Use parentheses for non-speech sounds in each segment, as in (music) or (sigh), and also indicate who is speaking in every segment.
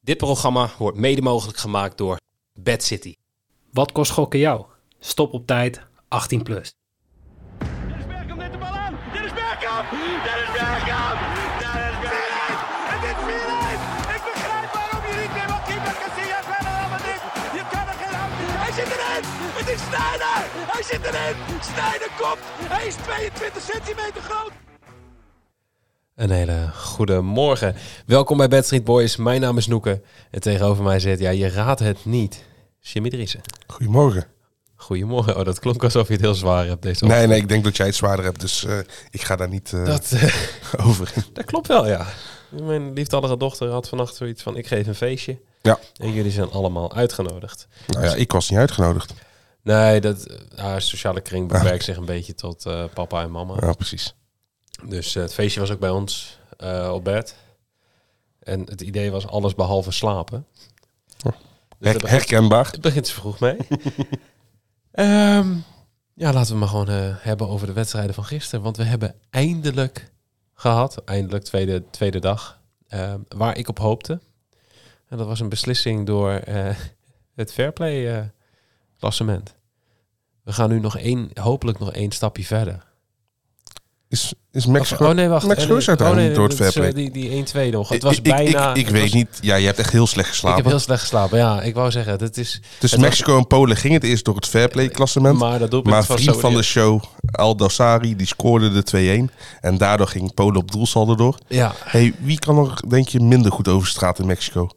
Speaker 1: Dit programma wordt mede mogelijk gemaakt door Bad City.
Speaker 2: Wat kost gokken jou? Stop op tijd, 18 plus.
Speaker 3: Dennis Bergkamp neemt de bal aan. Dennis Bergkamp! Dennis Bergkamp! Dennis Bergkamp! Het is 4-1! Ik begrijp waarom je niet meer wat keeper Casillas verder allemaal niet. Je kan er geen hand in. Hij zit erin! Het is Sneijder! Hij zit erin! Sneijder komt! Hij is 22 centimeter groot!
Speaker 1: Een hele goede morgen. Welkom bij Bad Street Boys. Mijn naam is Noeke. En tegenover mij zit, ja, je raadt het niet, Jimmy Driessen.
Speaker 4: Goedemorgen.
Speaker 1: Goedemorgen. Oh, dat klonk alsof je het heel zwaar hebt deze
Speaker 4: Nee,
Speaker 1: ochtend.
Speaker 4: nee, ik denk dat jij het zwaarder hebt, dus eh, ik ga daar niet eh,
Speaker 1: Dat, eh,
Speaker 4: (laughs) over in.
Speaker 1: dat klopt wel, ja. Mijn liefdallige dochter had vannacht zoiets van, ik geef een feestje.
Speaker 4: Ja.
Speaker 1: En jullie zijn allemaal uitgenodigd.
Speaker 4: Nou ja, ik was niet uitgenodigd.
Speaker 1: Oh. Nee, dat, eh, haar sociale kring beperkt zich een beetje tot eh, papa en mama.
Speaker 4: Ja, precies.
Speaker 1: Dus eh, het feestje was ook bij ons eh, op bed. En het idee was alles behalve slapen.
Speaker 4: Oh.
Speaker 1: Dus daar
Speaker 4: Her-
Speaker 1: begint,
Speaker 4: herkenbaar.
Speaker 1: daar begint ze vroeg
Speaker 4: (laughs)
Speaker 1: mee. Ehm, ja, laten we maar gewoon eh, hebben over de wedstrijden van gisteren. Want we hebben eindelijk gehad, eindelijk tweede, tweede dag, ehm, waar ik op hoopte. En dat was een beslissing door eh, (laughs) het Fairplay eh, klassement. We gaan nu nog één, hopelijk nog één stapje verder.
Speaker 4: Is, is Mexico...
Speaker 1: Of- oh nee, wacht.
Speaker 4: Max
Speaker 1: Eh,
Speaker 4: Cruz uit
Speaker 1: nee,
Speaker 4: door het
Speaker 1: dat is,
Speaker 4: fair play.
Speaker 1: eh, Die, die 1-2 nog. Het
Speaker 4: Ik-
Speaker 1: was
Speaker 4: ik, ik-
Speaker 1: bijna...
Speaker 4: Ik, ik,
Speaker 1: het
Speaker 4: weet
Speaker 1: was-
Speaker 4: niet. Ja, je hebt echt heel slecht
Speaker 1: Ik
Speaker 4: geslapen.
Speaker 1: heb heel slecht geslapen. Ja, ik wou zeggen, dat is...
Speaker 4: Tussen
Speaker 1: het was- Eh,
Speaker 4: Mexico en Polen ging het eerst door het fair play klassement. Maar,
Speaker 1: Maar dat doelpunt was
Speaker 4: vriend
Speaker 1: zo...
Speaker 4: van de show, Aldo Sari, die scoorde de 2-1. En daardoor ging Polen op doelsaldo door.
Speaker 1: Ja,
Speaker 4: hey, wie kan er, denk je, minder goed over straat in Mexico?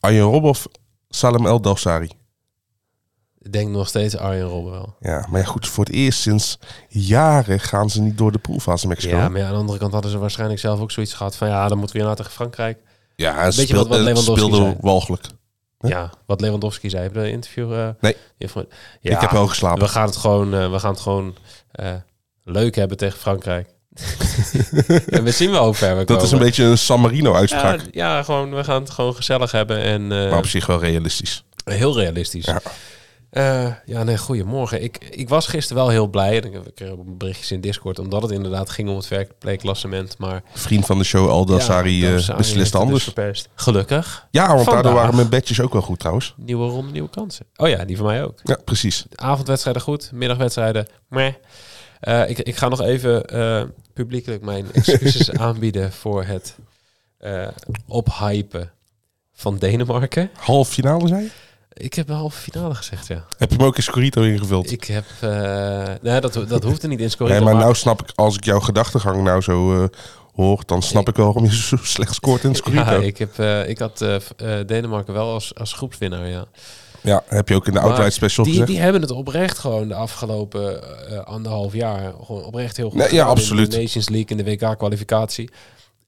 Speaker 4: Arjen Rob of Salem El Dosari?
Speaker 1: ik denk nog steeds Arjen Robben wel.
Speaker 4: Ja, maar ja, goed, voor het eerst sinds jaren gaan ze niet door de poolfase in Mexico.
Speaker 1: Ja,
Speaker 4: Ja,
Speaker 1: maar ja, aan de andere kant hadden ze waarschijnlijk zelf ook zoiets gehad van... Ja, dan moeten we weer naar tegen Frankrijk.
Speaker 4: en
Speaker 1: Weet je
Speaker 4: speel,
Speaker 1: wat- wat
Speaker 4: en
Speaker 1: Lewandowski
Speaker 4: speelde
Speaker 1: zei?
Speaker 4: walgelijk. Huh?
Speaker 1: Ja, wat Lewandowski zei bij de interview. eh,
Speaker 4: Nee.
Speaker 1: die van- ja,
Speaker 4: Ik heb wel
Speaker 1: we
Speaker 4: geslapen.
Speaker 1: gaan het gewoon, eh, we gaan het gewoon eh, leuk hebben tegen
Speaker 4: (laughs)
Speaker 1: Frankrijk. en we zien wel hoe ver we
Speaker 4: Dat is een beetje een San Marino-uitspraak.
Speaker 1: Ja, ja, gewoon, we gaan het gewoon gezellig hebben en... eh,
Speaker 4: maar op zich wel realistisch.
Speaker 1: Heel realistisch.
Speaker 4: Ja.
Speaker 1: Eh, ja, nee, goedemorgen. Ik, ik was gisteren wel heel blij. En ik kreeg ook berichtjes in Discord, omdat het inderdaad ging om het werkplekklassement. Maar
Speaker 4: Vriend van de show Aldo Sari eh, beslist anders.
Speaker 1: Gelukkig.
Speaker 4: ja, want daardoor
Speaker 1: dus Vandaag.
Speaker 4: waren mijn bedjes ook wel goed trouwens.
Speaker 1: Nieuwe ronde, nieuwe kansen. Oh ja, die van mij ook.
Speaker 4: Ja, precies.
Speaker 1: Avondwedstrijden goed, middagwedstrijden meh. Eh, ik, ik ga nog even eh, publiekelijk mijn
Speaker 4: (laughs)
Speaker 1: excuses aanbieden voor het eh, ophypen van Denemarken.
Speaker 4: Half finale zei je?
Speaker 1: Ik heb de halve finale gezegd, ja.
Speaker 4: Heb je hem ook in Scorito ingevuld?
Speaker 1: Ik heb... eh nee, dat, ho- dat hoeft er niet in scoren.
Speaker 4: nee, maar nou snap ik, als ik jouw gedachtegang nou zo eh, hoor, dan snap ik, wel waarom je zo (laughs) slecht scoort in Scorito.
Speaker 1: Ja,
Speaker 4: Ja,
Speaker 1: ik, heb, eh, ik had eh, v- eh, Denemarken wel als, als groepswinnaar, ja.
Speaker 4: heb je ook in de Outright Special
Speaker 1: die,
Speaker 4: gezegd.
Speaker 1: die hebben het oprecht gewoon de afgelopen eh, anderhalf jaar gewoon oprecht heel goed
Speaker 4: Nee, ja,
Speaker 1: gedaan In
Speaker 4: absoluut.
Speaker 1: de Nations League, in de WK-kwalificatie.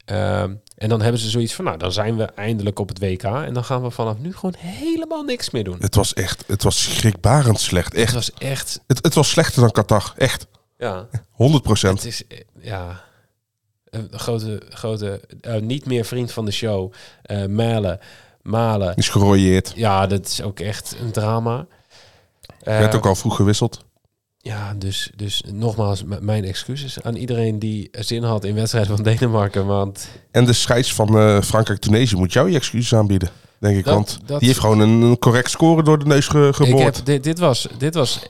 Speaker 1: Ehm, en dan hebben ze zoiets van, nou, dan zijn we eindelijk op het WK. En dan gaan we vanaf nu gewoon helemaal niks meer doen.
Speaker 4: Het was echt, het was schrikbarend slecht.
Speaker 1: Het
Speaker 4: Echt.
Speaker 1: was echt,
Speaker 4: Het, het was slechter dan Qatar. Echt. 100%.
Speaker 1: ja, het is, eh, ja... Een grote, grote eh, niet meer vriend van de show. eh Malen, Malen.
Speaker 4: Is gerooieerd.
Speaker 1: Ja, dat is ook echt een drama. Eh,
Speaker 4: Werd ook al vroeg gewisseld.
Speaker 1: Ja, dus, dus nogmaals, m- mijn excuses aan iedereen die zin had in wedstrijden van Denemarken. Want
Speaker 4: En de scheids van eh, Frankrijk-Tunesië moet jou je excuses aanbieden. Denk ik.
Speaker 1: Dat-
Speaker 4: want
Speaker 1: dat-
Speaker 4: die heeft gewoon een, een correct score door de neus ge-
Speaker 1: ik
Speaker 4: geboord.
Speaker 1: heb, dit, dit, was, dit was,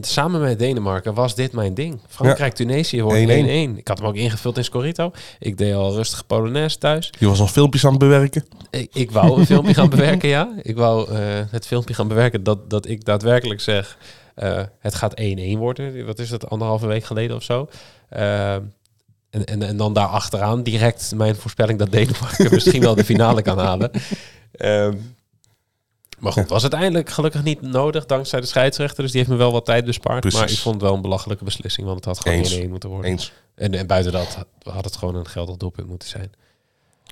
Speaker 1: samen met Denemarken was dit mijn ding. Frankrijk-Tunesië wordt 1-1.
Speaker 4: 1-1.
Speaker 1: Ik had hem ook ingevuld in Scorito. Ik deed al rustig Polonaise thuis.
Speaker 4: Die was al filmpjes aan het bewerken.
Speaker 1: Ik, ik wou een filmpje
Speaker 4: (laughs)
Speaker 1: gaan bewerken, ja. Ik wou eh, het filmpje gaan bewerken dat, dat ik daadwerkelijk zeg... eh, het gaat 1-1 worden. Wat is dat, anderhalve week geleden of zo? Ehm, en, en, en dan daarachteraan direct mijn voorspelling... dat Denemarken
Speaker 4: (laughs)
Speaker 1: misschien wel de finale kan halen. Ehm, maar goed, was uiteindelijk gelukkig niet nodig... dankzij de scheidsrechter, dus die heeft me wel wat tijd bespaard. Maar
Speaker 4: Precies.
Speaker 1: ik vond het wel een belachelijke beslissing... want het had gewoon
Speaker 4: Eens.
Speaker 1: 1-1 moeten worden.
Speaker 4: Eens.
Speaker 1: En, en buiten dat had het gewoon een geldig doelpunt moeten zijn.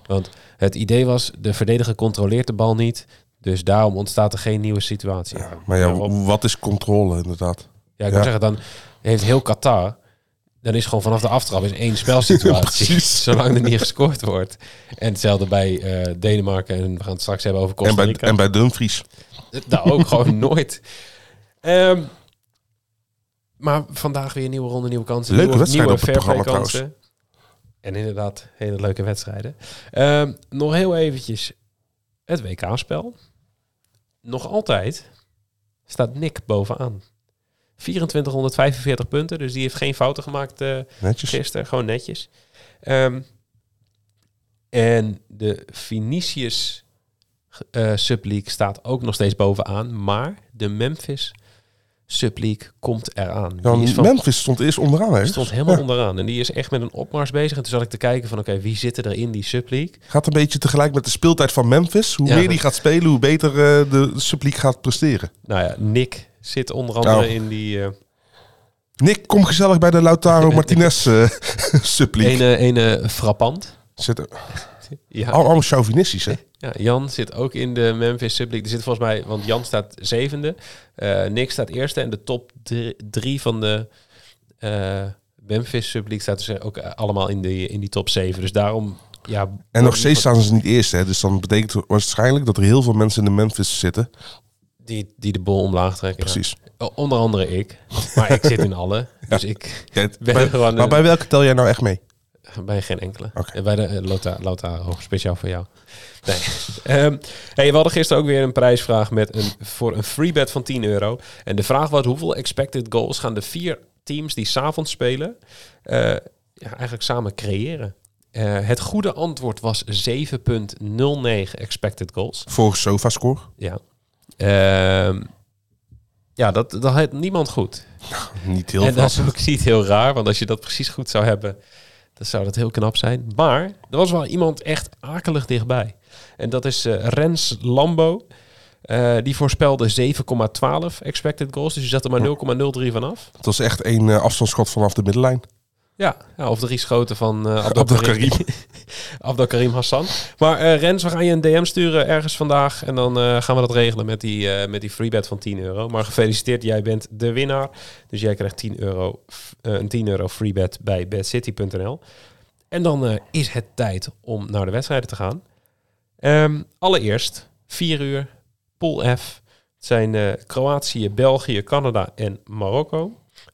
Speaker 1: Want het idee was, de verdediger controleert de bal niet. Dus daarom ontstaat er geen nieuwe situatie. Ja,
Speaker 4: Maar ja,
Speaker 1: Rob.
Speaker 4: w- wat is controle inderdaad?
Speaker 1: ja ik
Speaker 4: ja.
Speaker 1: wil zeggen, dan heeft heel Qatar... Dan is gewoon vanaf de aftrap is één spelsituatie.
Speaker 4: Precies.
Speaker 1: zolang er niet gescoord wordt. En hetzelfde bij eh, Denemarken. En we gaan het straks hebben over
Speaker 4: En
Speaker 1: Costa
Speaker 4: bij,
Speaker 1: Rica.
Speaker 4: en bij Dumfries.
Speaker 1: Nou, ook gewoon (laughs) nooit. Ehm, maar vandaag weer nieuwe ronde, nieuwe kansen.
Speaker 4: Leuke
Speaker 1: nieuwe,
Speaker 4: wedstrijden op het
Speaker 1: fair play
Speaker 4: programma
Speaker 1: kansen. En inderdaad, hele leuke wedstrijden. Ehm, nog heel eventjes. eh, het WK-spel. Nog altijd staat Nick bovenaan. 2445 punten, dus die heeft geen fouten gemaakt eh,
Speaker 4: Netjes.
Speaker 1: gisteren. Gewoon netjes. Ehm, en de Vinicius eh, Subleague staat ook nog steeds bovenaan. Maar de Memphis Subleague komt eraan.
Speaker 4: Ja,
Speaker 1: Die is van-
Speaker 4: Memphis stond eerst onderaan, hè?
Speaker 1: die stond helemaal onderaan. En die is echt met een opmars bezig. En toen zat ik te kijken van, oké, wie zitten er in die subleague?
Speaker 4: Gaat een beetje tegelijk met de speeltijd van Memphis. Hoe
Speaker 1: Ja.
Speaker 4: meer die gaat spelen, hoe beter eh, de Subliek gaat presteren.
Speaker 1: Nou ja, Nick zit onder andere
Speaker 4: Oh.
Speaker 1: in die... eh,
Speaker 4: Nick, kom gezellig bij de Lautaro Martinez eh (laughs) Subliek.
Speaker 1: ene, ene frappant.
Speaker 4: Zit,
Speaker 1: Ja.
Speaker 4: al, allemaal chauvinistisch, hè?
Speaker 1: ja, Jan zit ook in de Memphis subleague. Er zit volgens mij, want Jan staat zevende. eh, Nick staat eerste. En de top drie, drie van de eh, Memphis subleague staat dus ook eh, allemaal in die, in die top zeven. Dus daarom... Ja,
Speaker 4: En nog steeds staan ze niet eerst, hè? Dus dan betekent het waarschijnlijk dat er heel veel mensen in de Memphis zitten.
Speaker 1: Die, die de bol omlaag trekken. ja.
Speaker 4: Precies.
Speaker 1: O- Onder andere ik. Maar ik zit in alle. Dus ik
Speaker 4: (laughs) Ja, het-
Speaker 1: ben
Speaker 4: bij-
Speaker 1: gewoon...
Speaker 4: maar
Speaker 1: een-
Speaker 4: bij welke tel jij nou echt mee?
Speaker 1: (laughs) Bij geen enkele.
Speaker 4: Oké.
Speaker 1: En Bij de eh, Lota- Lautaro, speciaal voor jou. Nee. (laughs) Ehm, hey, we hadden gisteren ook weer een prijsvraag met een, voor een free bet van 10 euro. En de vraag was hoeveel expected goals gaan de vier teams die s'avonds spelen eh, ja, eigenlijk samen creëren? Eh, het goede antwoord was 7.09 expected goals.
Speaker 4: Volgens SofaScore?
Speaker 1: Ja, Ehm, ja dat, dat had niemand goed.
Speaker 4: Niet heel
Speaker 1: en dat is
Speaker 4: veel.
Speaker 1: ook niet heel raar, want als je dat precies goed zou hebben, dan zou dat heel knap zijn. Maar er was wel iemand echt akelig dichtbij. En dat is eh, Rens Lambo. Eh, die voorspelde 7,12 expected goals. Dus je zat er maar 0,03 vanaf.
Speaker 4: Het was echt één eh, afstandsschot vanaf de middenlijn.
Speaker 1: Ja, ja, of drie schoten van eh
Speaker 4: Abdel
Speaker 1: Abdelkarim. (laughs) Abdelkarim Hassan. Maar eh, Rens, we gaan je een DM sturen ergens vandaag. En dan eh, gaan we dat regelen met die, eh, met die freebet van 10 euro. Maar gefeliciteerd, jij bent de winnaar. Dus jij krijgt 10 euro, f- eh, een 10 euro freebet bij badcity.nl. En dan eh, is het tijd om naar de wedstrijden te gaan. Ehm, allereerst, 4 uur, Pool F. Het zijn eh, Kroatië, België, Canada en Marokko.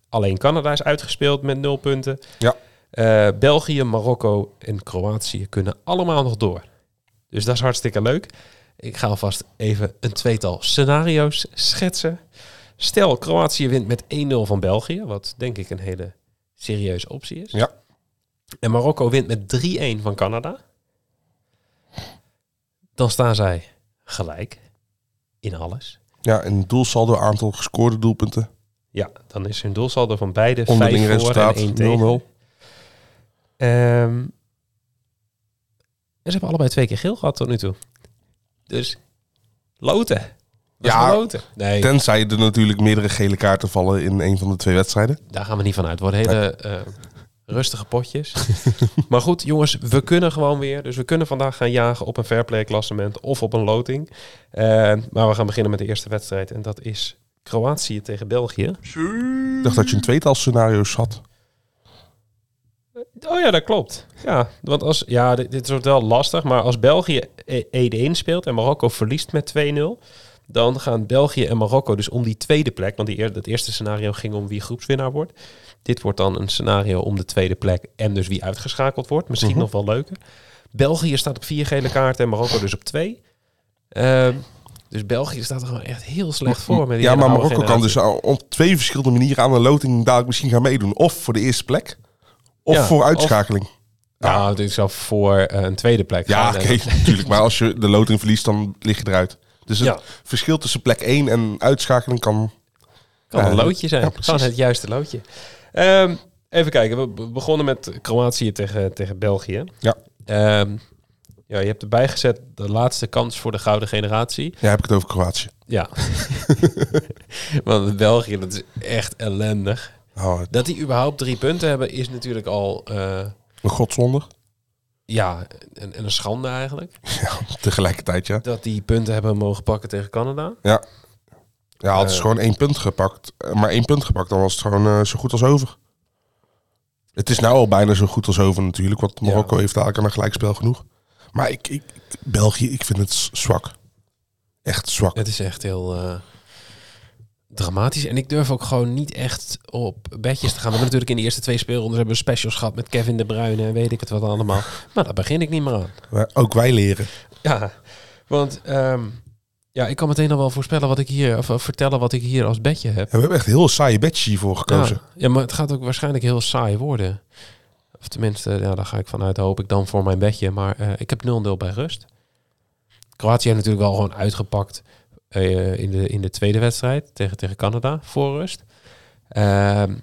Speaker 1: Alleen Canada is uitgespeeld met 0 punten.
Speaker 4: Ja.
Speaker 1: Eh, België, Marokko en Kroatië kunnen allemaal nog door. Dus dat is hartstikke leuk. Ik ga alvast even een tweetal scenario's schetsen. Stel, Kroatië wint met 1-0 van België, wat denk ik een hele serieuze optie is.
Speaker 4: Ja.
Speaker 1: En Marokko wint met 3-1 van Canada. Dan staan zij gelijk in alles.
Speaker 4: Ja, en doelsaldo aantal gescoorde doelpunten.
Speaker 1: Ja, dan is hun doelsaldo van beide
Speaker 4: Onderling
Speaker 1: 5 voor en
Speaker 4: resultaat
Speaker 1: 1 tegen.
Speaker 4: 0-0.
Speaker 1: Ehm, en ze hebben allebei twee keer geel gehad tot nu toe. Dus loten. Dat
Speaker 4: Ja,
Speaker 1: ja, loten. Nee,
Speaker 4: Tenzij er natuurlijk meerdere gele kaarten vallen in een van de twee wedstrijden.
Speaker 1: daar gaan we niet van uit. Het worden hele eh, rustige potjes. (laughs) maar goed, jongens, we kunnen gewoon weer. Dus we kunnen vandaag gaan jagen op een fairplay klassement of op een loting. Eh, maar we gaan beginnen met de eerste wedstrijd. En dat is Kroatië tegen België.
Speaker 4: Ik dacht dat je een tweetal scenario's had.
Speaker 1: Oh ja, dat klopt. Ja, want als, ja, dit, dit wordt wel lastig. Maar als België e- 1-1 speelt en Marokko verliest met 2-0... dan gaan België en Marokko dus om die tweede plek. Want die, eer- dat eerste scenario ging om wie groepswinnaar wordt. Dit wordt dan een scenario om de tweede plek... en dus wie uitgeschakeld wordt. Misschien
Speaker 4: Mhm.
Speaker 1: nog wel leuker. België staat op vier gele kaarten en Marokko dus op twee. Ehm, dus België staat er gewoon echt heel slecht voor. Met die
Speaker 4: Ja,
Speaker 1: hele
Speaker 4: maar
Speaker 1: oude
Speaker 4: Marokko kan
Speaker 1: generatie.
Speaker 4: dus al- op twee verschillende manieren aan de loting dadelijk misschien gaan meedoen. Of voor de eerste plek, of
Speaker 1: Ja,
Speaker 4: voor
Speaker 1: of-
Speaker 4: uitschakeling.
Speaker 1: Nou, dit zou voor eh, een tweede plek
Speaker 4: Ja,
Speaker 1: gaan.
Speaker 4: oké, (laughs) natuurlijk. Maar als je de loting verliest, dan lig je eruit. Dus het
Speaker 1: Ja.
Speaker 4: verschil tussen plek 1 en uitschakeling kan...
Speaker 1: Kan
Speaker 4: Ja,
Speaker 1: een loodje zijn.
Speaker 4: ja, precies.
Speaker 1: Gewoon het juiste loodje. Ehm, even kijken. We be- begonnen met Kroatië tegen, tegen België.
Speaker 4: Ja.
Speaker 1: Ehm, ja, je hebt erbij gezet de laatste kans voor de gouden generatie.
Speaker 4: Ja, heb ik het over Kroatië.
Speaker 1: Ja. (laughs) Want België, dat is echt ellendig.
Speaker 4: Oh,
Speaker 1: Dat die überhaupt drie punten hebben, is natuurlijk al... eh,
Speaker 4: een godswonder.
Speaker 1: ja, een, een schande eigenlijk.
Speaker 4: Ja, tegelijkertijd, ja.
Speaker 1: Dat die punten hebben mogen pakken tegen Canada.
Speaker 4: Ja, ja hadden ze
Speaker 1: Eh.
Speaker 4: gewoon één punt gepakt. eh, Maar één punt gepakt, dan was het gewoon eh, zo goed als over. Het is nou al bijna zo goed als over natuurlijk. Want Marokko heeft eigenlijk aan een gelijkspel genoeg. Maar ik, ik, ik- België, ik vind het s- zwak. Echt zwak.
Speaker 1: Het is echt heel eh, dramatisch. En ik durf ook gewoon niet echt op bedjes te gaan. We hebben natuurlijk in de eerste twee speelrondes hebben we specials gehad met Kevin de Bruyne en weet ik het wat allemaal. Maar daar begin ik niet meer aan.
Speaker 4: Maar ook wij leren.
Speaker 1: Ja, Want ehm, ja, ik kan meteen al wel voorspellen wat ik hier, of eh, vertellen wat ik hier als bedje heb.
Speaker 4: Ja, we hebben echt heel saaie bedje hiervoor
Speaker 1: Ja.
Speaker 4: gekozen.
Speaker 1: ja, maar het gaat ook waarschijnlijk heel saai worden. Of tenminste, ja, daar ga ik vanuit, hoop ik dan voor mijn bedje. Maar eh, ik heb 0-0 bij rust. Kroatië heeft natuurlijk wel gewoon uitgepakt eh, in, de, in de tweede wedstrijd tegen, tegen Canada voor rust. Ehm,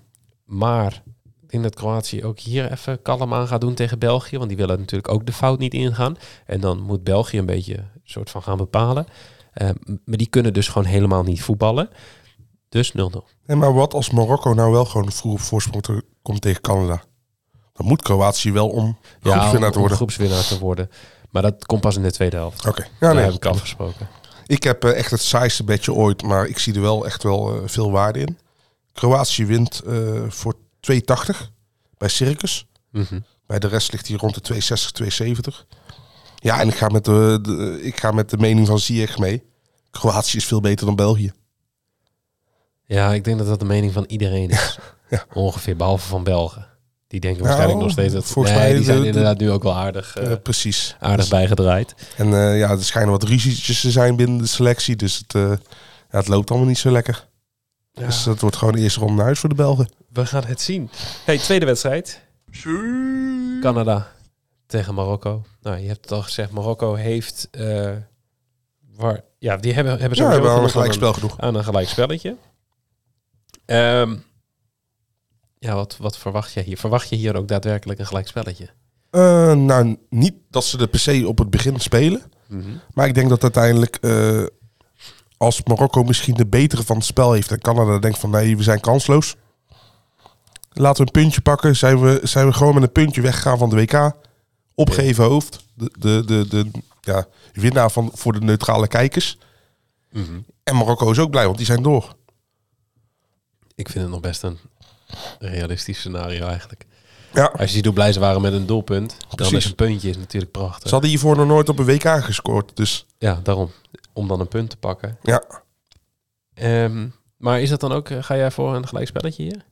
Speaker 1: maar ik denk dat Kroatië ook hier even kalm aan gaat doen tegen België. Want die willen natuurlijk ook de fout niet ingaan. En dan moet België een beetje een soort van gaan bepalen. Ehm, maar die kunnen dus gewoon helemaal niet voetballen. Dus 0-0.
Speaker 4: Nee, maar wat als Marokko nou wel gewoon vroeg op voorsprong te- komt tegen Canada? Dan moet Kroatië wel om groepswinnaar
Speaker 1: om-
Speaker 4: te
Speaker 1: om
Speaker 4: worden.
Speaker 1: groepswinnaar te worden. Maar dat komt pas in de tweede helft.
Speaker 4: Oké, ja,
Speaker 1: Daar
Speaker 4: nee.
Speaker 1: heb ik afgesproken.
Speaker 4: Ik heb eh, echt het saaiste bedje ooit, maar ik zie er wel echt wel eh, veel waarde in. Kroatië wint eh, voor 2,80 bij Circus.
Speaker 1: Mhm.
Speaker 4: Bij de rest ligt hij rond de 260, 270. Ja, en ik ga met de, de- ik ga met de mening van Ziyech mee. Kroatië is veel beter dan België.
Speaker 1: Ja, ik denk dat dat de mening van iedereen is.
Speaker 4: (laughs) Ja. Nou,
Speaker 1: Ongeveer, behalve van Belgen. Die denken waarschijnlijk nog steeds dat...
Speaker 4: volgens
Speaker 1: nee,
Speaker 4: mij
Speaker 1: die zijn
Speaker 4: de- de-
Speaker 1: inderdaad nu ook wel aardig, eh,
Speaker 4: Eh, precies.
Speaker 1: aardig bijgedraaid.
Speaker 4: En eh, ja, er schijnen wat ruzietjes te zijn binnen de selectie. Dus het, eh, ja, het loopt allemaal niet zo lekker. Dus dat wordt gewoon de eerste ronde naar huis voor de Belgen.
Speaker 1: We gaan het zien. Hey, tweede wedstrijd. Canada tegen Marokko. Nou, je hebt het al gezegd. Marokko heeft... eh, waar, ja, die hebben, hebben
Speaker 4: Ja,
Speaker 1: sowieso
Speaker 4: we hebben al een
Speaker 1: genoeg aan een-
Speaker 4: gelijkspel genoeg.
Speaker 1: aan een gelijk spelletje. Ehm, ja, wat, wat verwacht jij hier? Verwacht je hier ook daadwerkelijk een gelijk spelletje?
Speaker 4: Eh, nou, niet dat ze er per se op het begin spelen. Maar ik denk dat uiteindelijk, eh, als Marokko misschien de betere van het spel heeft en Canada denkt van nee, we zijn kansloos. Laten we een puntje pakken. Zijn we, zijn we gewoon met een puntje weggegaan van de WK. Opgeven hoofd. De, de, de, de ja, winnaar van, voor de neutrale kijkers. En Marokko is ook blij, want die zijn door.
Speaker 1: Ik vind het nog best een realistisch scenario eigenlijk.
Speaker 4: Ja.
Speaker 1: Als je ziet hoe blij ze waren met een doelpunt, dan
Speaker 4: Precies.
Speaker 1: is een puntje is natuurlijk prachtig.
Speaker 4: Ze hadden hiervoor nog nooit op een WK gescoord. Dus
Speaker 1: Ja, daarom. Om dan een punt te pakken.
Speaker 4: ja,
Speaker 1: Ehm, maar is dat dan ook, eh, ga jij voor een gelijk spelletje hier?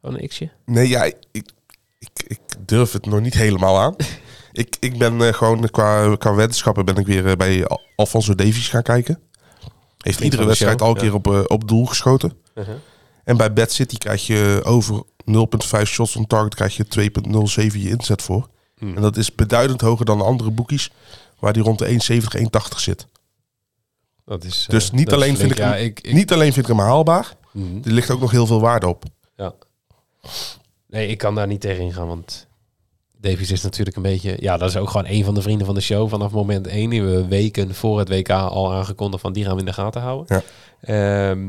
Speaker 1: Gewoon een x'je?
Speaker 4: Nee, ja, ik, ik, ik durf het nog niet helemaal
Speaker 1: (laughs)
Speaker 4: aan. ik, ik ben eh, gewoon qua, qua wetenschappen ben ik weer eh, bij Al- Alfonso Davies gaan kijken. Heeft
Speaker 1: van
Speaker 4: iedere
Speaker 1: de
Speaker 4: wedstrijd
Speaker 1: show,
Speaker 4: al een
Speaker 1: ja.
Speaker 4: keer op, eh, op doel geschoten. En bij Bad City krijg je over 0,5 shots on target krijg je 2,07 je inzet voor.
Speaker 1: Hmm.
Speaker 4: En dat is beduidend hoger dan de andere boekies, waar die rond de 1,70, 1,80 zit.
Speaker 1: Dat is, eh,
Speaker 4: Dus niet
Speaker 1: dat is
Speaker 4: alleen
Speaker 1: flink.
Speaker 4: vind ik
Speaker 1: Ja,
Speaker 4: hem-
Speaker 1: ik, ik-
Speaker 4: Niet alleen vind ik hem haalbaar,
Speaker 1: Mhm.
Speaker 4: er ligt ook nog heel veel waarde op.
Speaker 1: Ja. Nee, ik kan daar niet tegen ingaan, want Davies is natuurlijk een beetje... Ja, dat is ook gewoon een van de vrienden van de show vanaf moment één. Die we weken voor het WK al aangekondigd van die gaan we in de gaten houden. Ehm,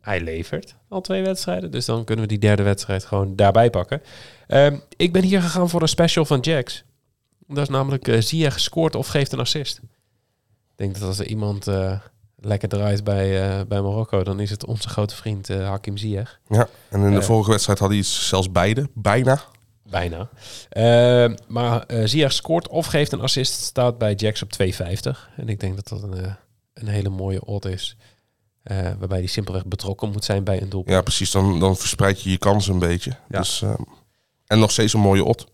Speaker 1: hij levert al twee wedstrijden, dus dan kunnen we die derde wedstrijd gewoon daarbij pakken. Ehm, ik ben hier gegaan voor een special van Jax. Dat is namelijk eh Ziyech scoort of geeft een assist. Ik denk dat als er iemand eh, lekker draait bij, eh, bij Marokko, dan is het onze grote vriend eh, Hakim Ziyech.
Speaker 4: Ja. En in de
Speaker 1: Eh.
Speaker 4: vorige wedstrijd hadden hij zelfs beide, bijna.
Speaker 1: Bijna. Eh, maar eh Ziyech scoort of geeft een assist, staat bij Jax op 2,50. En ik denk dat dat een, eh, een hele mooie odd is. eh, waarbij hij simpelweg betrokken moet zijn bij een doelpunt.
Speaker 4: Ja, precies. Dan, dan verspreid je je kansen een beetje.
Speaker 1: Ja.
Speaker 4: Dus, ehm, en nog steeds een mooie ot.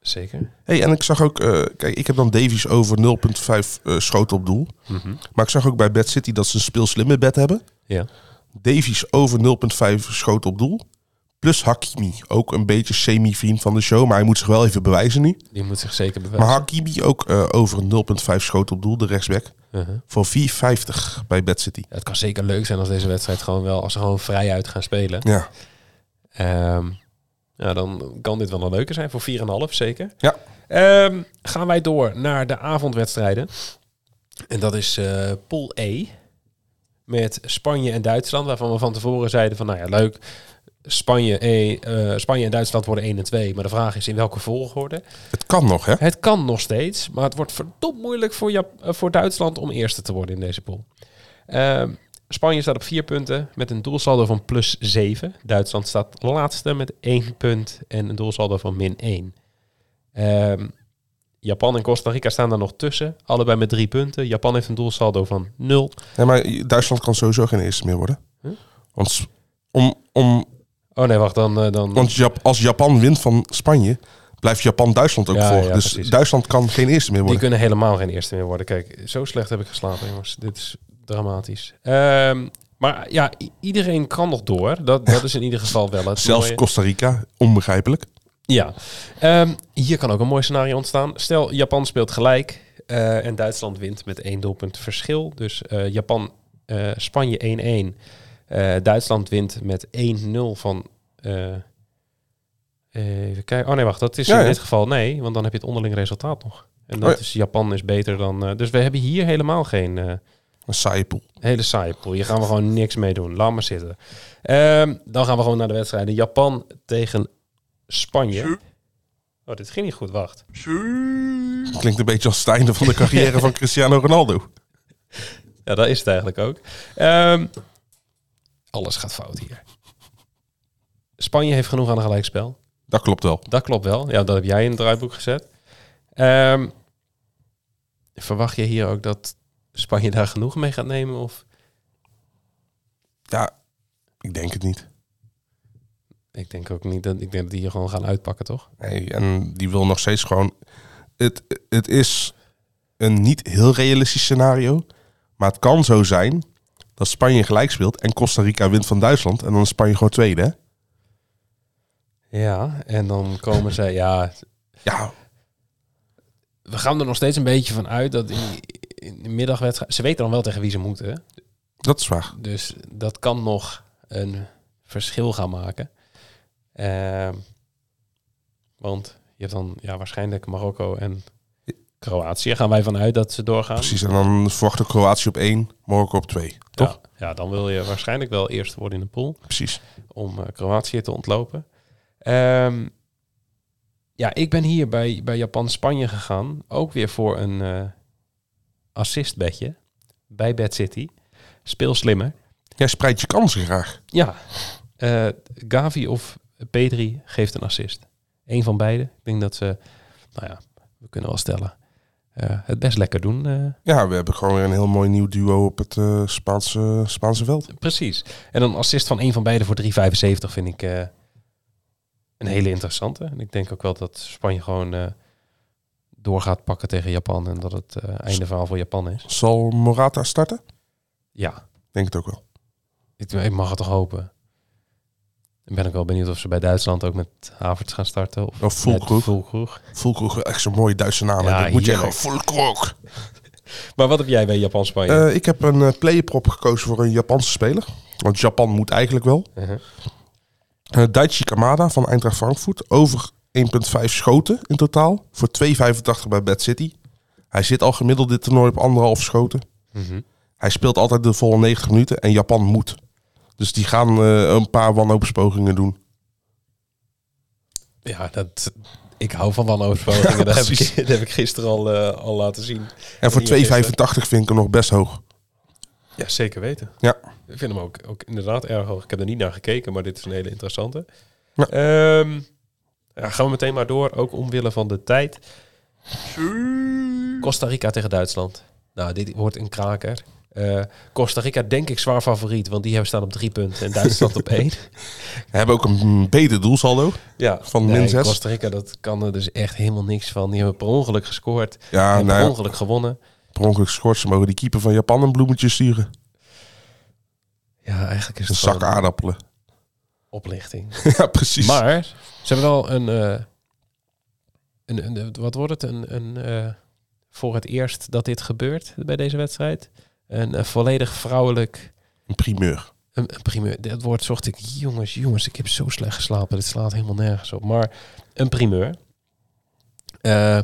Speaker 1: Zeker.
Speaker 4: Hey, en ik zag ook, eh, kijk, ik heb dan Davies over 0,5 eh, schoten op doel. Maar ik zag ook bij Bad City dat ze een speelslimme bed hebben.
Speaker 1: Mhm. Ja.
Speaker 4: Davies over 0,5 schoten op doel. Plus Hakimi, ook een beetje semi-vriend van de show, maar hij moet zich wel even bewijzen nu.
Speaker 1: Die moet zich zeker bewijzen.
Speaker 4: Maar Hakimi ook eh, over 0,5 schoten op doel, de rechtsback,
Speaker 1: Mhm.
Speaker 4: voor 4,50 bij Bad City.
Speaker 1: Ja, Het kan zeker leuk zijn als deze wedstrijd gewoon wel, als ze gewoon vrij uit gaan spelen.
Speaker 4: Ja,
Speaker 1: Ehm, ja, dan kan dit wel een leuke zijn voor 4,5 zeker.
Speaker 4: Ja.
Speaker 1: Ehm, gaan wij door naar de avondwedstrijden. En dat is eh Pool E. Met Spanje en Duitsland, waarvan we van tevoren zeiden van, nou ja, leuk. Spanje, E, eh, Spanje en Duitsland worden 1 en 2. Maar de vraag is in welke volgorde.
Speaker 4: het kan nog, hè?
Speaker 1: Het kan nog steeds, maar het wordt verdomd moeilijk voor, Jap- eh, voor Duitsland om eerste te worden in deze pool. Ehm, Spanje staat op vier punten met een doelsaldo van plus 7. Duitsland staat laatste met één punt en een doelsaldo van min 1. Japan en Costa Rica staan daar nog tussen, allebei met drie punten. Japan heeft een doelsaldo van 0.
Speaker 4: Nee, maar Duitsland kan sowieso geen eerste meer worden.
Speaker 1: Huh?
Speaker 4: Want om, om
Speaker 1: Oh nee, wacht, dan... eh, dan
Speaker 4: Want Jap- als Japan wint van Spanje, blijft Japan-Duitsland ook
Speaker 1: Ja,
Speaker 4: voor.
Speaker 1: ja,
Speaker 4: dus
Speaker 1: precies.
Speaker 4: Duitsland kan geen eerste meer
Speaker 1: Die
Speaker 4: worden.
Speaker 1: kunnen helemaal geen eerste meer worden. Kijk, zo slecht heb ik geslapen, jongens. Dit is dramatisch. Ehm, maar ja, i- iedereen kan nog door. Dat, dat is in ieder geval wel het
Speaker 4: (laughs) Zelfs
Speaker 1: mooie.
Speaker 4: Costa Rica, onbegrijpelijk.
Speaker 1: Ja. Ehm, hier kan ook een mooi scenario ontstaan. Stel, Japan speelt gelijk eh, en Duitsland wint met één doelpunt verschil. Dus eh, Japan, eh, Spanje 1-1. Eh, Duitsland wint met 1-0 van... eh, even kijken. Oh nee, wacht. Dat is
Speaker 4: Ja,
Speaker 1: in
Speaker 4: ja.
Speaker 1: dit geval nee, want dan heb je het onderling resultaat nog. En dat
Speaker 4: Oh ja.
Speaker 1: is Japan is beter dan... eh, dus we hebben hier helemaal geen... eh,
Speaker 4: Een saaie pool.
Speaker 1: Hele saaie pool. Hier gaan we gewoon niks mee doen. Laat maar zitten. Ehm, dan gaan we gewoon naar de wedstrijden. Japan tegen Spanje. Oh, dit ging niet goed. Wacht.
Speaker 4: Klinkt een beetje als het einde van de carrière
Speaker 1: (laughs)
Speaker 4: van Cristiano Ronaldo.
Speaker 1: Ja, dat is het eigenlijk ook. Ehm, alles gaat fout hier. Spanje heeft genoeg aan een gelijkspel.
Speaker 4: Dat klopt wel.
Speaker 1: Dat klopt wel. Ja, dat heb jij in het draaiboek gezet. Ehm, verwacht je hier ook dat Spanje daar genoeg mee gaat nemen? Of
Speaker 4: Ja, ik denk het niet.
Speaker 1: ik denk ook niet dat ik denk dat die hier gewoon gaan uitpakken, toch?
Speaker 4: Nee, en die wil nog steeds gewoon... Het, het is een niet heel realistisch scenario. Maar het kan zo zijn dat Spanje gelijk speelt en Costa Rica wint van Duitsland. En dan is Spanje gewoon tweede. hè?
Speaker 1: Ja, en dan komen ze. Ja,
Speaker 4: Ja,
Speaker 1: we gaan er nog steeds een beetje van uit dat in, in de middagwedstrijd... Ze weten dan wel tegen wie ze moeten. hè?
Speaker 4: dat is waar.
Speaker 1: Dus dat kan nog een verschil gaan maken. Ehm, want je hebt dan ja, waarschijnlijk Marokko en Kroatië. Gaan wij vanuit dat ze doorgaan?
Speaker 4: Precies. En dan verwacht ik Kroatië op één, Marokko op twee.
Speaker 1: Ja.
Speaker 4: Toch?
Speaker 1: Ja, dan wil je waarschijnlijk wel eerst worden in de pool.
Speaker 4: Precies.
Speaker 1: om eh, Kroatië te ontlopen. Ehm, ja, ik ben hier bij, bij Japan-Spanje gegaan. Ook weer voor een eh assistbedje bij Bad City. Speel slimmer.
Speaker 4: Jij spreidt je kansen graag.
Speaker 1: Ja, eh, Gavi of Pedri geeft een assist. Eén van beide. Ik denk dat ze, nou ja, we kunnen wel stellen, eh, het best lekker doen. eh,
Speaker 4: Ja, we hebben gewoon weer een heel mooi nieuw duo op het eh, Spaanse, Spaanse veld.
Speaker 1: Precies. En een assist van een van beiden voor 3,75 vind ik eh, een hele interessante. En ik denk ook wel dat Spanje gewoon eh, door gaat pakken tegen Japan. En dat het eh, einde verhaal voor Japan is.
Speaker 4: Zal Morata starten?
Speaker 1: Ja,
Speaker 4: Denk het ook wel.
Speaker 1: ik, ik mag het toch hopen. Ik ben ook wel benieuwd of ze bij Duitsland ook met Havertz gaan starten. Of
Speaker 4: Of Fulkroeg.
Speaker 1: Volkroeg.
Speaker 4: Fulkroeg, echt zo'n mooie Duitse naam.
Speaker 1: Ja,
Speaker 4: Ja, moet je gewoon
Speaker 1: heerlijk.
Speaker 4: Fulkroeg.
Speaker 1: Maar wat heb jij bij Japan-Spanje?
Speaker 4: Eh, ik heb een eh, playerprop gekozen voor een Japanse speler. Want Japan moet eigenlijk wel.
Speaker 1: Uh-huh.
Speaker 4: Eh Daichi Kamada van Eintracht Frankfurt. Over 1,5 schoten in totaal. Voor 2,85 bij Bad City. Hij zit al gemiddeld dit toernooi op anderhalf schoten.
Speaker 1: Mhm.
Speaker 4: Hij speelt altijd de volle 90 minuten en Japan moet. Dus die gaan eh, een paar wanhoopspogingen doen.
Speaker 1: Ja, dat... Ik hou van wanhoopspogingen. dat, heb ik, (laughs) dat heb ik gisteren al, eh, al laten zien.
Speaker 4: En voor
Speaker 1: Ja,
Speaker 4: 2,85
Speaker 1: gisteren.
Speaker 4: vind ik hem nog best hoog.
Speaker 1: Ja, zeker weten.
Speaker 4: Ja.
Speaker 1: Ik vind hem ook, ook inderdaad erg hoog. Ik heb er niet naar gekeken, maar dit is een hele interessante.
Speaker 4: Ja.
Speaker 1: Ehm, ja, gaan we meteen maar door, ook omwille van de tijd. Costa Rica tegen Duitsland. Nou, dit wordt een kraker. Eh, Costa Rica denk ik zwaar favoriet, want die hebben staan op drie punten en Duitsland
Speaker 4: (laughs)
Speaker 1: op één.
Speaker 4: We hebben ook een beter doelsaldo.
Speaker 1: Ja,
Speaker 4: Van min zes.
Speaker 1: Costa Rica, dat kan er dus echt helemaal niks van. Die hebben per ongeluk gescoord, en
Speaker 4: Ja, nou
Speaker 1: per
Speaker 4: ja.
Speaker 1: ongeluk gewonnen.
Speaker 4: Per ongeluk schort, ze mogen die keeper van Japan een bloemetje sturen.
Speaker 1: Ja, eigenlijk is
Speaker 4: Een
Speaker 1: het gewoon
Speaker 4: zak aardappelen.
Speaker 1: oplichting.
Speaker 4: (laughs) ja, precies.
Speaker 1: Maar ze hebben wel een, eh, een, een, een- wat wordt het, een, een eh, voor het eerst dat dit gebeurt bij deze wedstrijd, een, eh, volledig vrouwelijk
Speaker 4: Een primeur.
Speaker 1: een, een primeur. Dat woord zocht ik, jongens, jongens, ik heb zo slecht geslapen, dit slaat helemaal nergens op. Maar een primeur, Eh,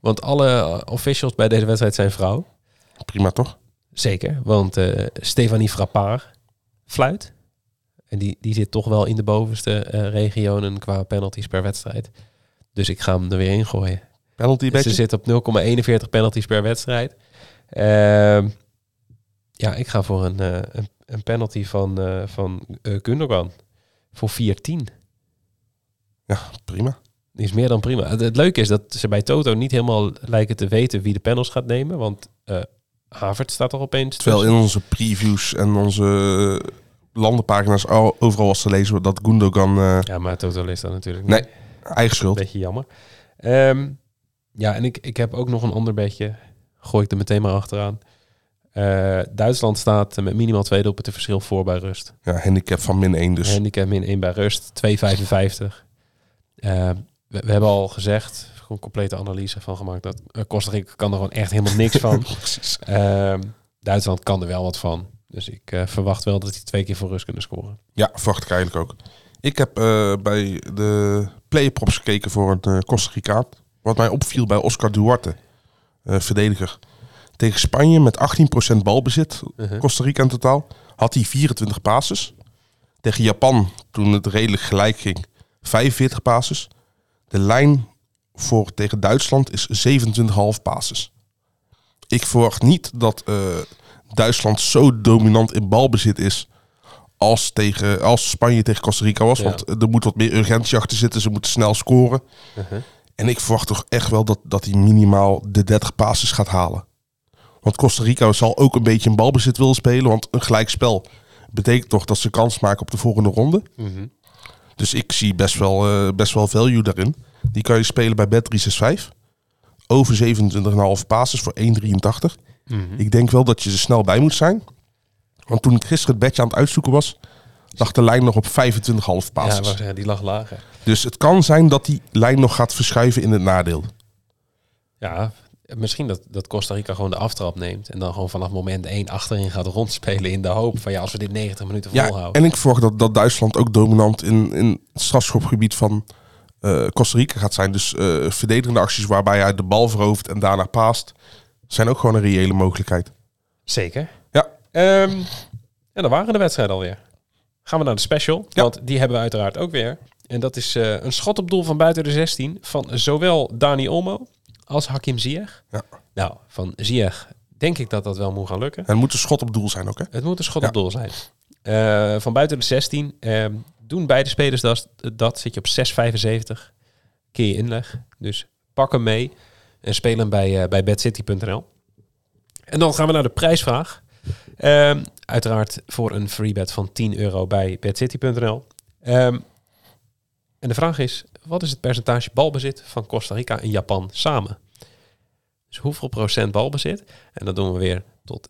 Speaker 1: want alle officials bij deze wedstrijd zijn vrouw,
Speaker 4: Prima toch?
Speaker 1: zeker, want eh Stefanie Frappard fluit. En die, die zit toch wel in de bovenste eh, regionen qua penalties per wedstrijd. Dus ik ga hem er weer in gooien.
Speaker 4: Penalty
Speaker 1: Ze
Speaker 4: beetje.
Speaker 1: zit op 0,41 penalties per wedstrijd. Ehm, ja, ik ga voor een, eh, een, een penalty van, eh van eh, Gundogan. Voor 4-10.
Speaker 4: Ja, prima.
Speaker 1: Die is meer dan prima. Het, het leuke is dat ze bij Toto niet helemaal lijken te weten wie de panels gaat nemen. Want eh Havert staat er opeens.
Speaker 4: Terwijl
Speaker 1: tussen.
Speaker 4: in onze previews en onze eh, landenpagina's al- overal was te lezen dat Gundogan... eh
Speaker 1: Ja, maar Toto leest dat natuurlijk niet.
Speaker 4: nee, eigen schuld.
Speaker 1: Beetje jammer. Ehm, ja, en ik, ik heb ook nog een ander beetje. Gooi ik er meteen maar achteraan. Eh, Duitsland staat eh, met minimaal twee doelpunten verschil voor bij rust.
Speaker 4: Ja, handicap van min 1 dus.
Speaker 1: Handicap min 1 bij rust, 2,55. Eh, we, we hebben al gezegd, gewoon complete analyse van gemaakt, dat eh, Costa Rica kan er gewoon echt helemaal
Speaker 4: (laughs)
Speaker 1: niks van.
Speaker 4: Precies.
Speaker 1: Ehm, Duitsland kan er wel wat van. Dus ik eh, verwacht wel dat die twee keer voor rust kunnen scoren.
Speaker 4: Ja, verwacht ik eigenlijk ook. Ik heb eh, bij de playprops gekeken voor een eh, Costa Ricaan. Wat mij opviel bij Oscar Duarte, eh, verdediger. Tegen Spanje met 18% balbezit, Costa Rica in totaal, had hij 24 passes. Tegen Japan, toen het redelijk gelijk ging, 45 passes. De lijn voor tegen Duitsland is 27,5 passes. Ik verwacht niet dat eh, Duitsland zo dominant in balbezit is als, tegen, als Spanje tegen Costa Rica was.
Speaker 1: Ja.
Speaker 4: Want eh, er moet wat meer urgentie achter zitten. Ze moeten snel scoren. En ik verwacht toch echt wel dat, dat hij minimaal de 30 passes gaat halen. Want Costa Rica zal ook een beetje een balbezit willen spelen. Want een gelijkspel betekent toch dat ze kans maken op de volgende ronde. Dus ik zie best wel, eh, best wel value daarin. Die kan je spelen bij Bet365. Over 27,5 passes voor 1,83.
Speaker 1: Mhm.
Speaker 4: Ik denk wel dat je er snel bij moet zijn. Want toen ik gisteren het bedje aan het uitzoeken was, lag de lijn nog op 25,5 passes.
Speaker 1: Ja, wou zeggen, die lag lager.
Speaker 4: Dus het kan zijn dat die lijn nog gaat verschuiven in het nadeel.
Speaker 1: Ja, misschien dat, dat Costa Rica gewoon de aftrap neemt en dan gewoon vanaf moment 1 achterin gaat rondspelen in de hoop van ja, als we dit 90 minuten
Speaker 4: Ja,
Speaker 1: volhouden.
Speaker 4: en ik verwacht dat, dat Duitsland ook dominant in, in het strafschopgebied van eh, Costa Rica gaat zijn. Dus eh, verdedigende acties waarbij hij de bal verovert en daarna paast, zijn ook gewoon een reële mogelijkheid.
Speaker 1: Zeker.
Speaker 4: Ja,
Speaker 1: Ehm en dan waren de wedstrijden alweer. Gaan we naar de special,
Speaker 4: Ja.
Speaker 1: want die hebben we uiteraard ook weer. En dat is eh, een schot op doel van buiten de 16 van zowel Dani Olmo als Hakim Ziyech.
Speaker 4: Ja.
Speaker 1: Nou, van Ziyech denk ik dat dat wel moet gaan lukken.
Speaker 4: en het moet een schot op doel zijn ook, hè?
Speaker 1: Het moet een schot
Speaker 4: Ja.
Speaker 1: op doel zijn. Eh, van buiten de 16 ehm, doen beide spelers dat, dat. Zit je op 6,75 keer je inleg. Dus pak hem mee en speel hem bij, eh, bij bedcity.nl. En dan gaan we naar de prijsvraag. Ehm, uiteraard voor een free bet van 10 euro bij bedcity.nl. Ehm, en de vraag is, wat is het percentage balbezit van Costa Rica en Japan samen? Dus hoeveel procent balbezit? En dat doen we weer tot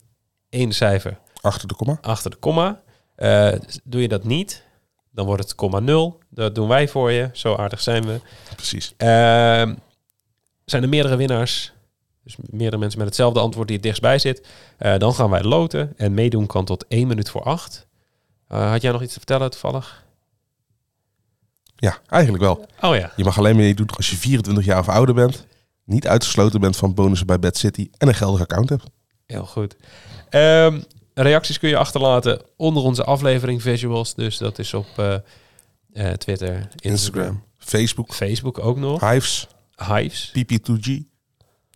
Speaker 1: één cijfer
Speaker 4: Achter de komma.
Speaker 1: achter de komma. Eh, doe je dat niet, dan wordt het komma nul. Dat doen wij voor je. Zo aardig zijn we.
Speaker 4: Precies.
Speaker 1: Ehm, zijn er meerdere winnaars? Dus meerdere mensen met hetzelfde antwoord die het dichtstbij zit. Eh, dan gaan wij loten. En meedoen kan tot 1 minuut voor 8. had jij nog iets te vertellen toevallig?
Speaker 4: Ja, eigenlijk wel.
Speaker 1: Oh ja.
Speaker 4: Je mag alleen meedoen als je 24 jaar of ouder bent, niet uitgesloten bent van bonussen bij Bad City en een geldig account hebt.
Speaker 1: Heel goed. Ehm, reacties kun je achterlaten onder onze aflevering visuals. Dus dat is op eh, eh, Twitter, Instagram,
Speaker 4: Instagram, Facebook,
Speaker 1: Facebook ook nog.
Speaker 4: Hives,
Speaker 1: Hives.
Speaker 4: PP2G.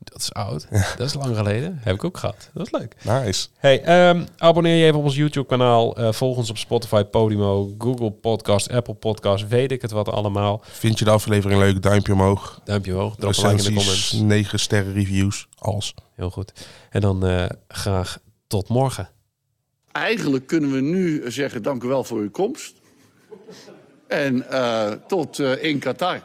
Speaker 1: Dat is oud. Dat is lang geleden. Heb ik ook gehad. Dat is leuk.
Speaker 4: Nice.
Speaker 1: Hey, ehm, abonneer je even op ons YouTube-kanaal. eh, volg ons op Spotify, Podimo, Google Podcast, Apple Podcast. Weet ik het wat allemaal.
Speaker 4: Vind je de aflevering leuk? Duimpje omhoog.
Speaker 1: Duimpje omhoog. Drop een like in de
Speaker 4: Recensies,
Speaker 1: comments.
Speaker 4: 9 sterren reviews, alles.
Speaker 1: Heel goed. En dan eh, graag tot morgen.
Speaker 5: Eigenlijk kunnen we nu zeggen: dank u wel voor uw komst. En eh, tot eh, in Qatar.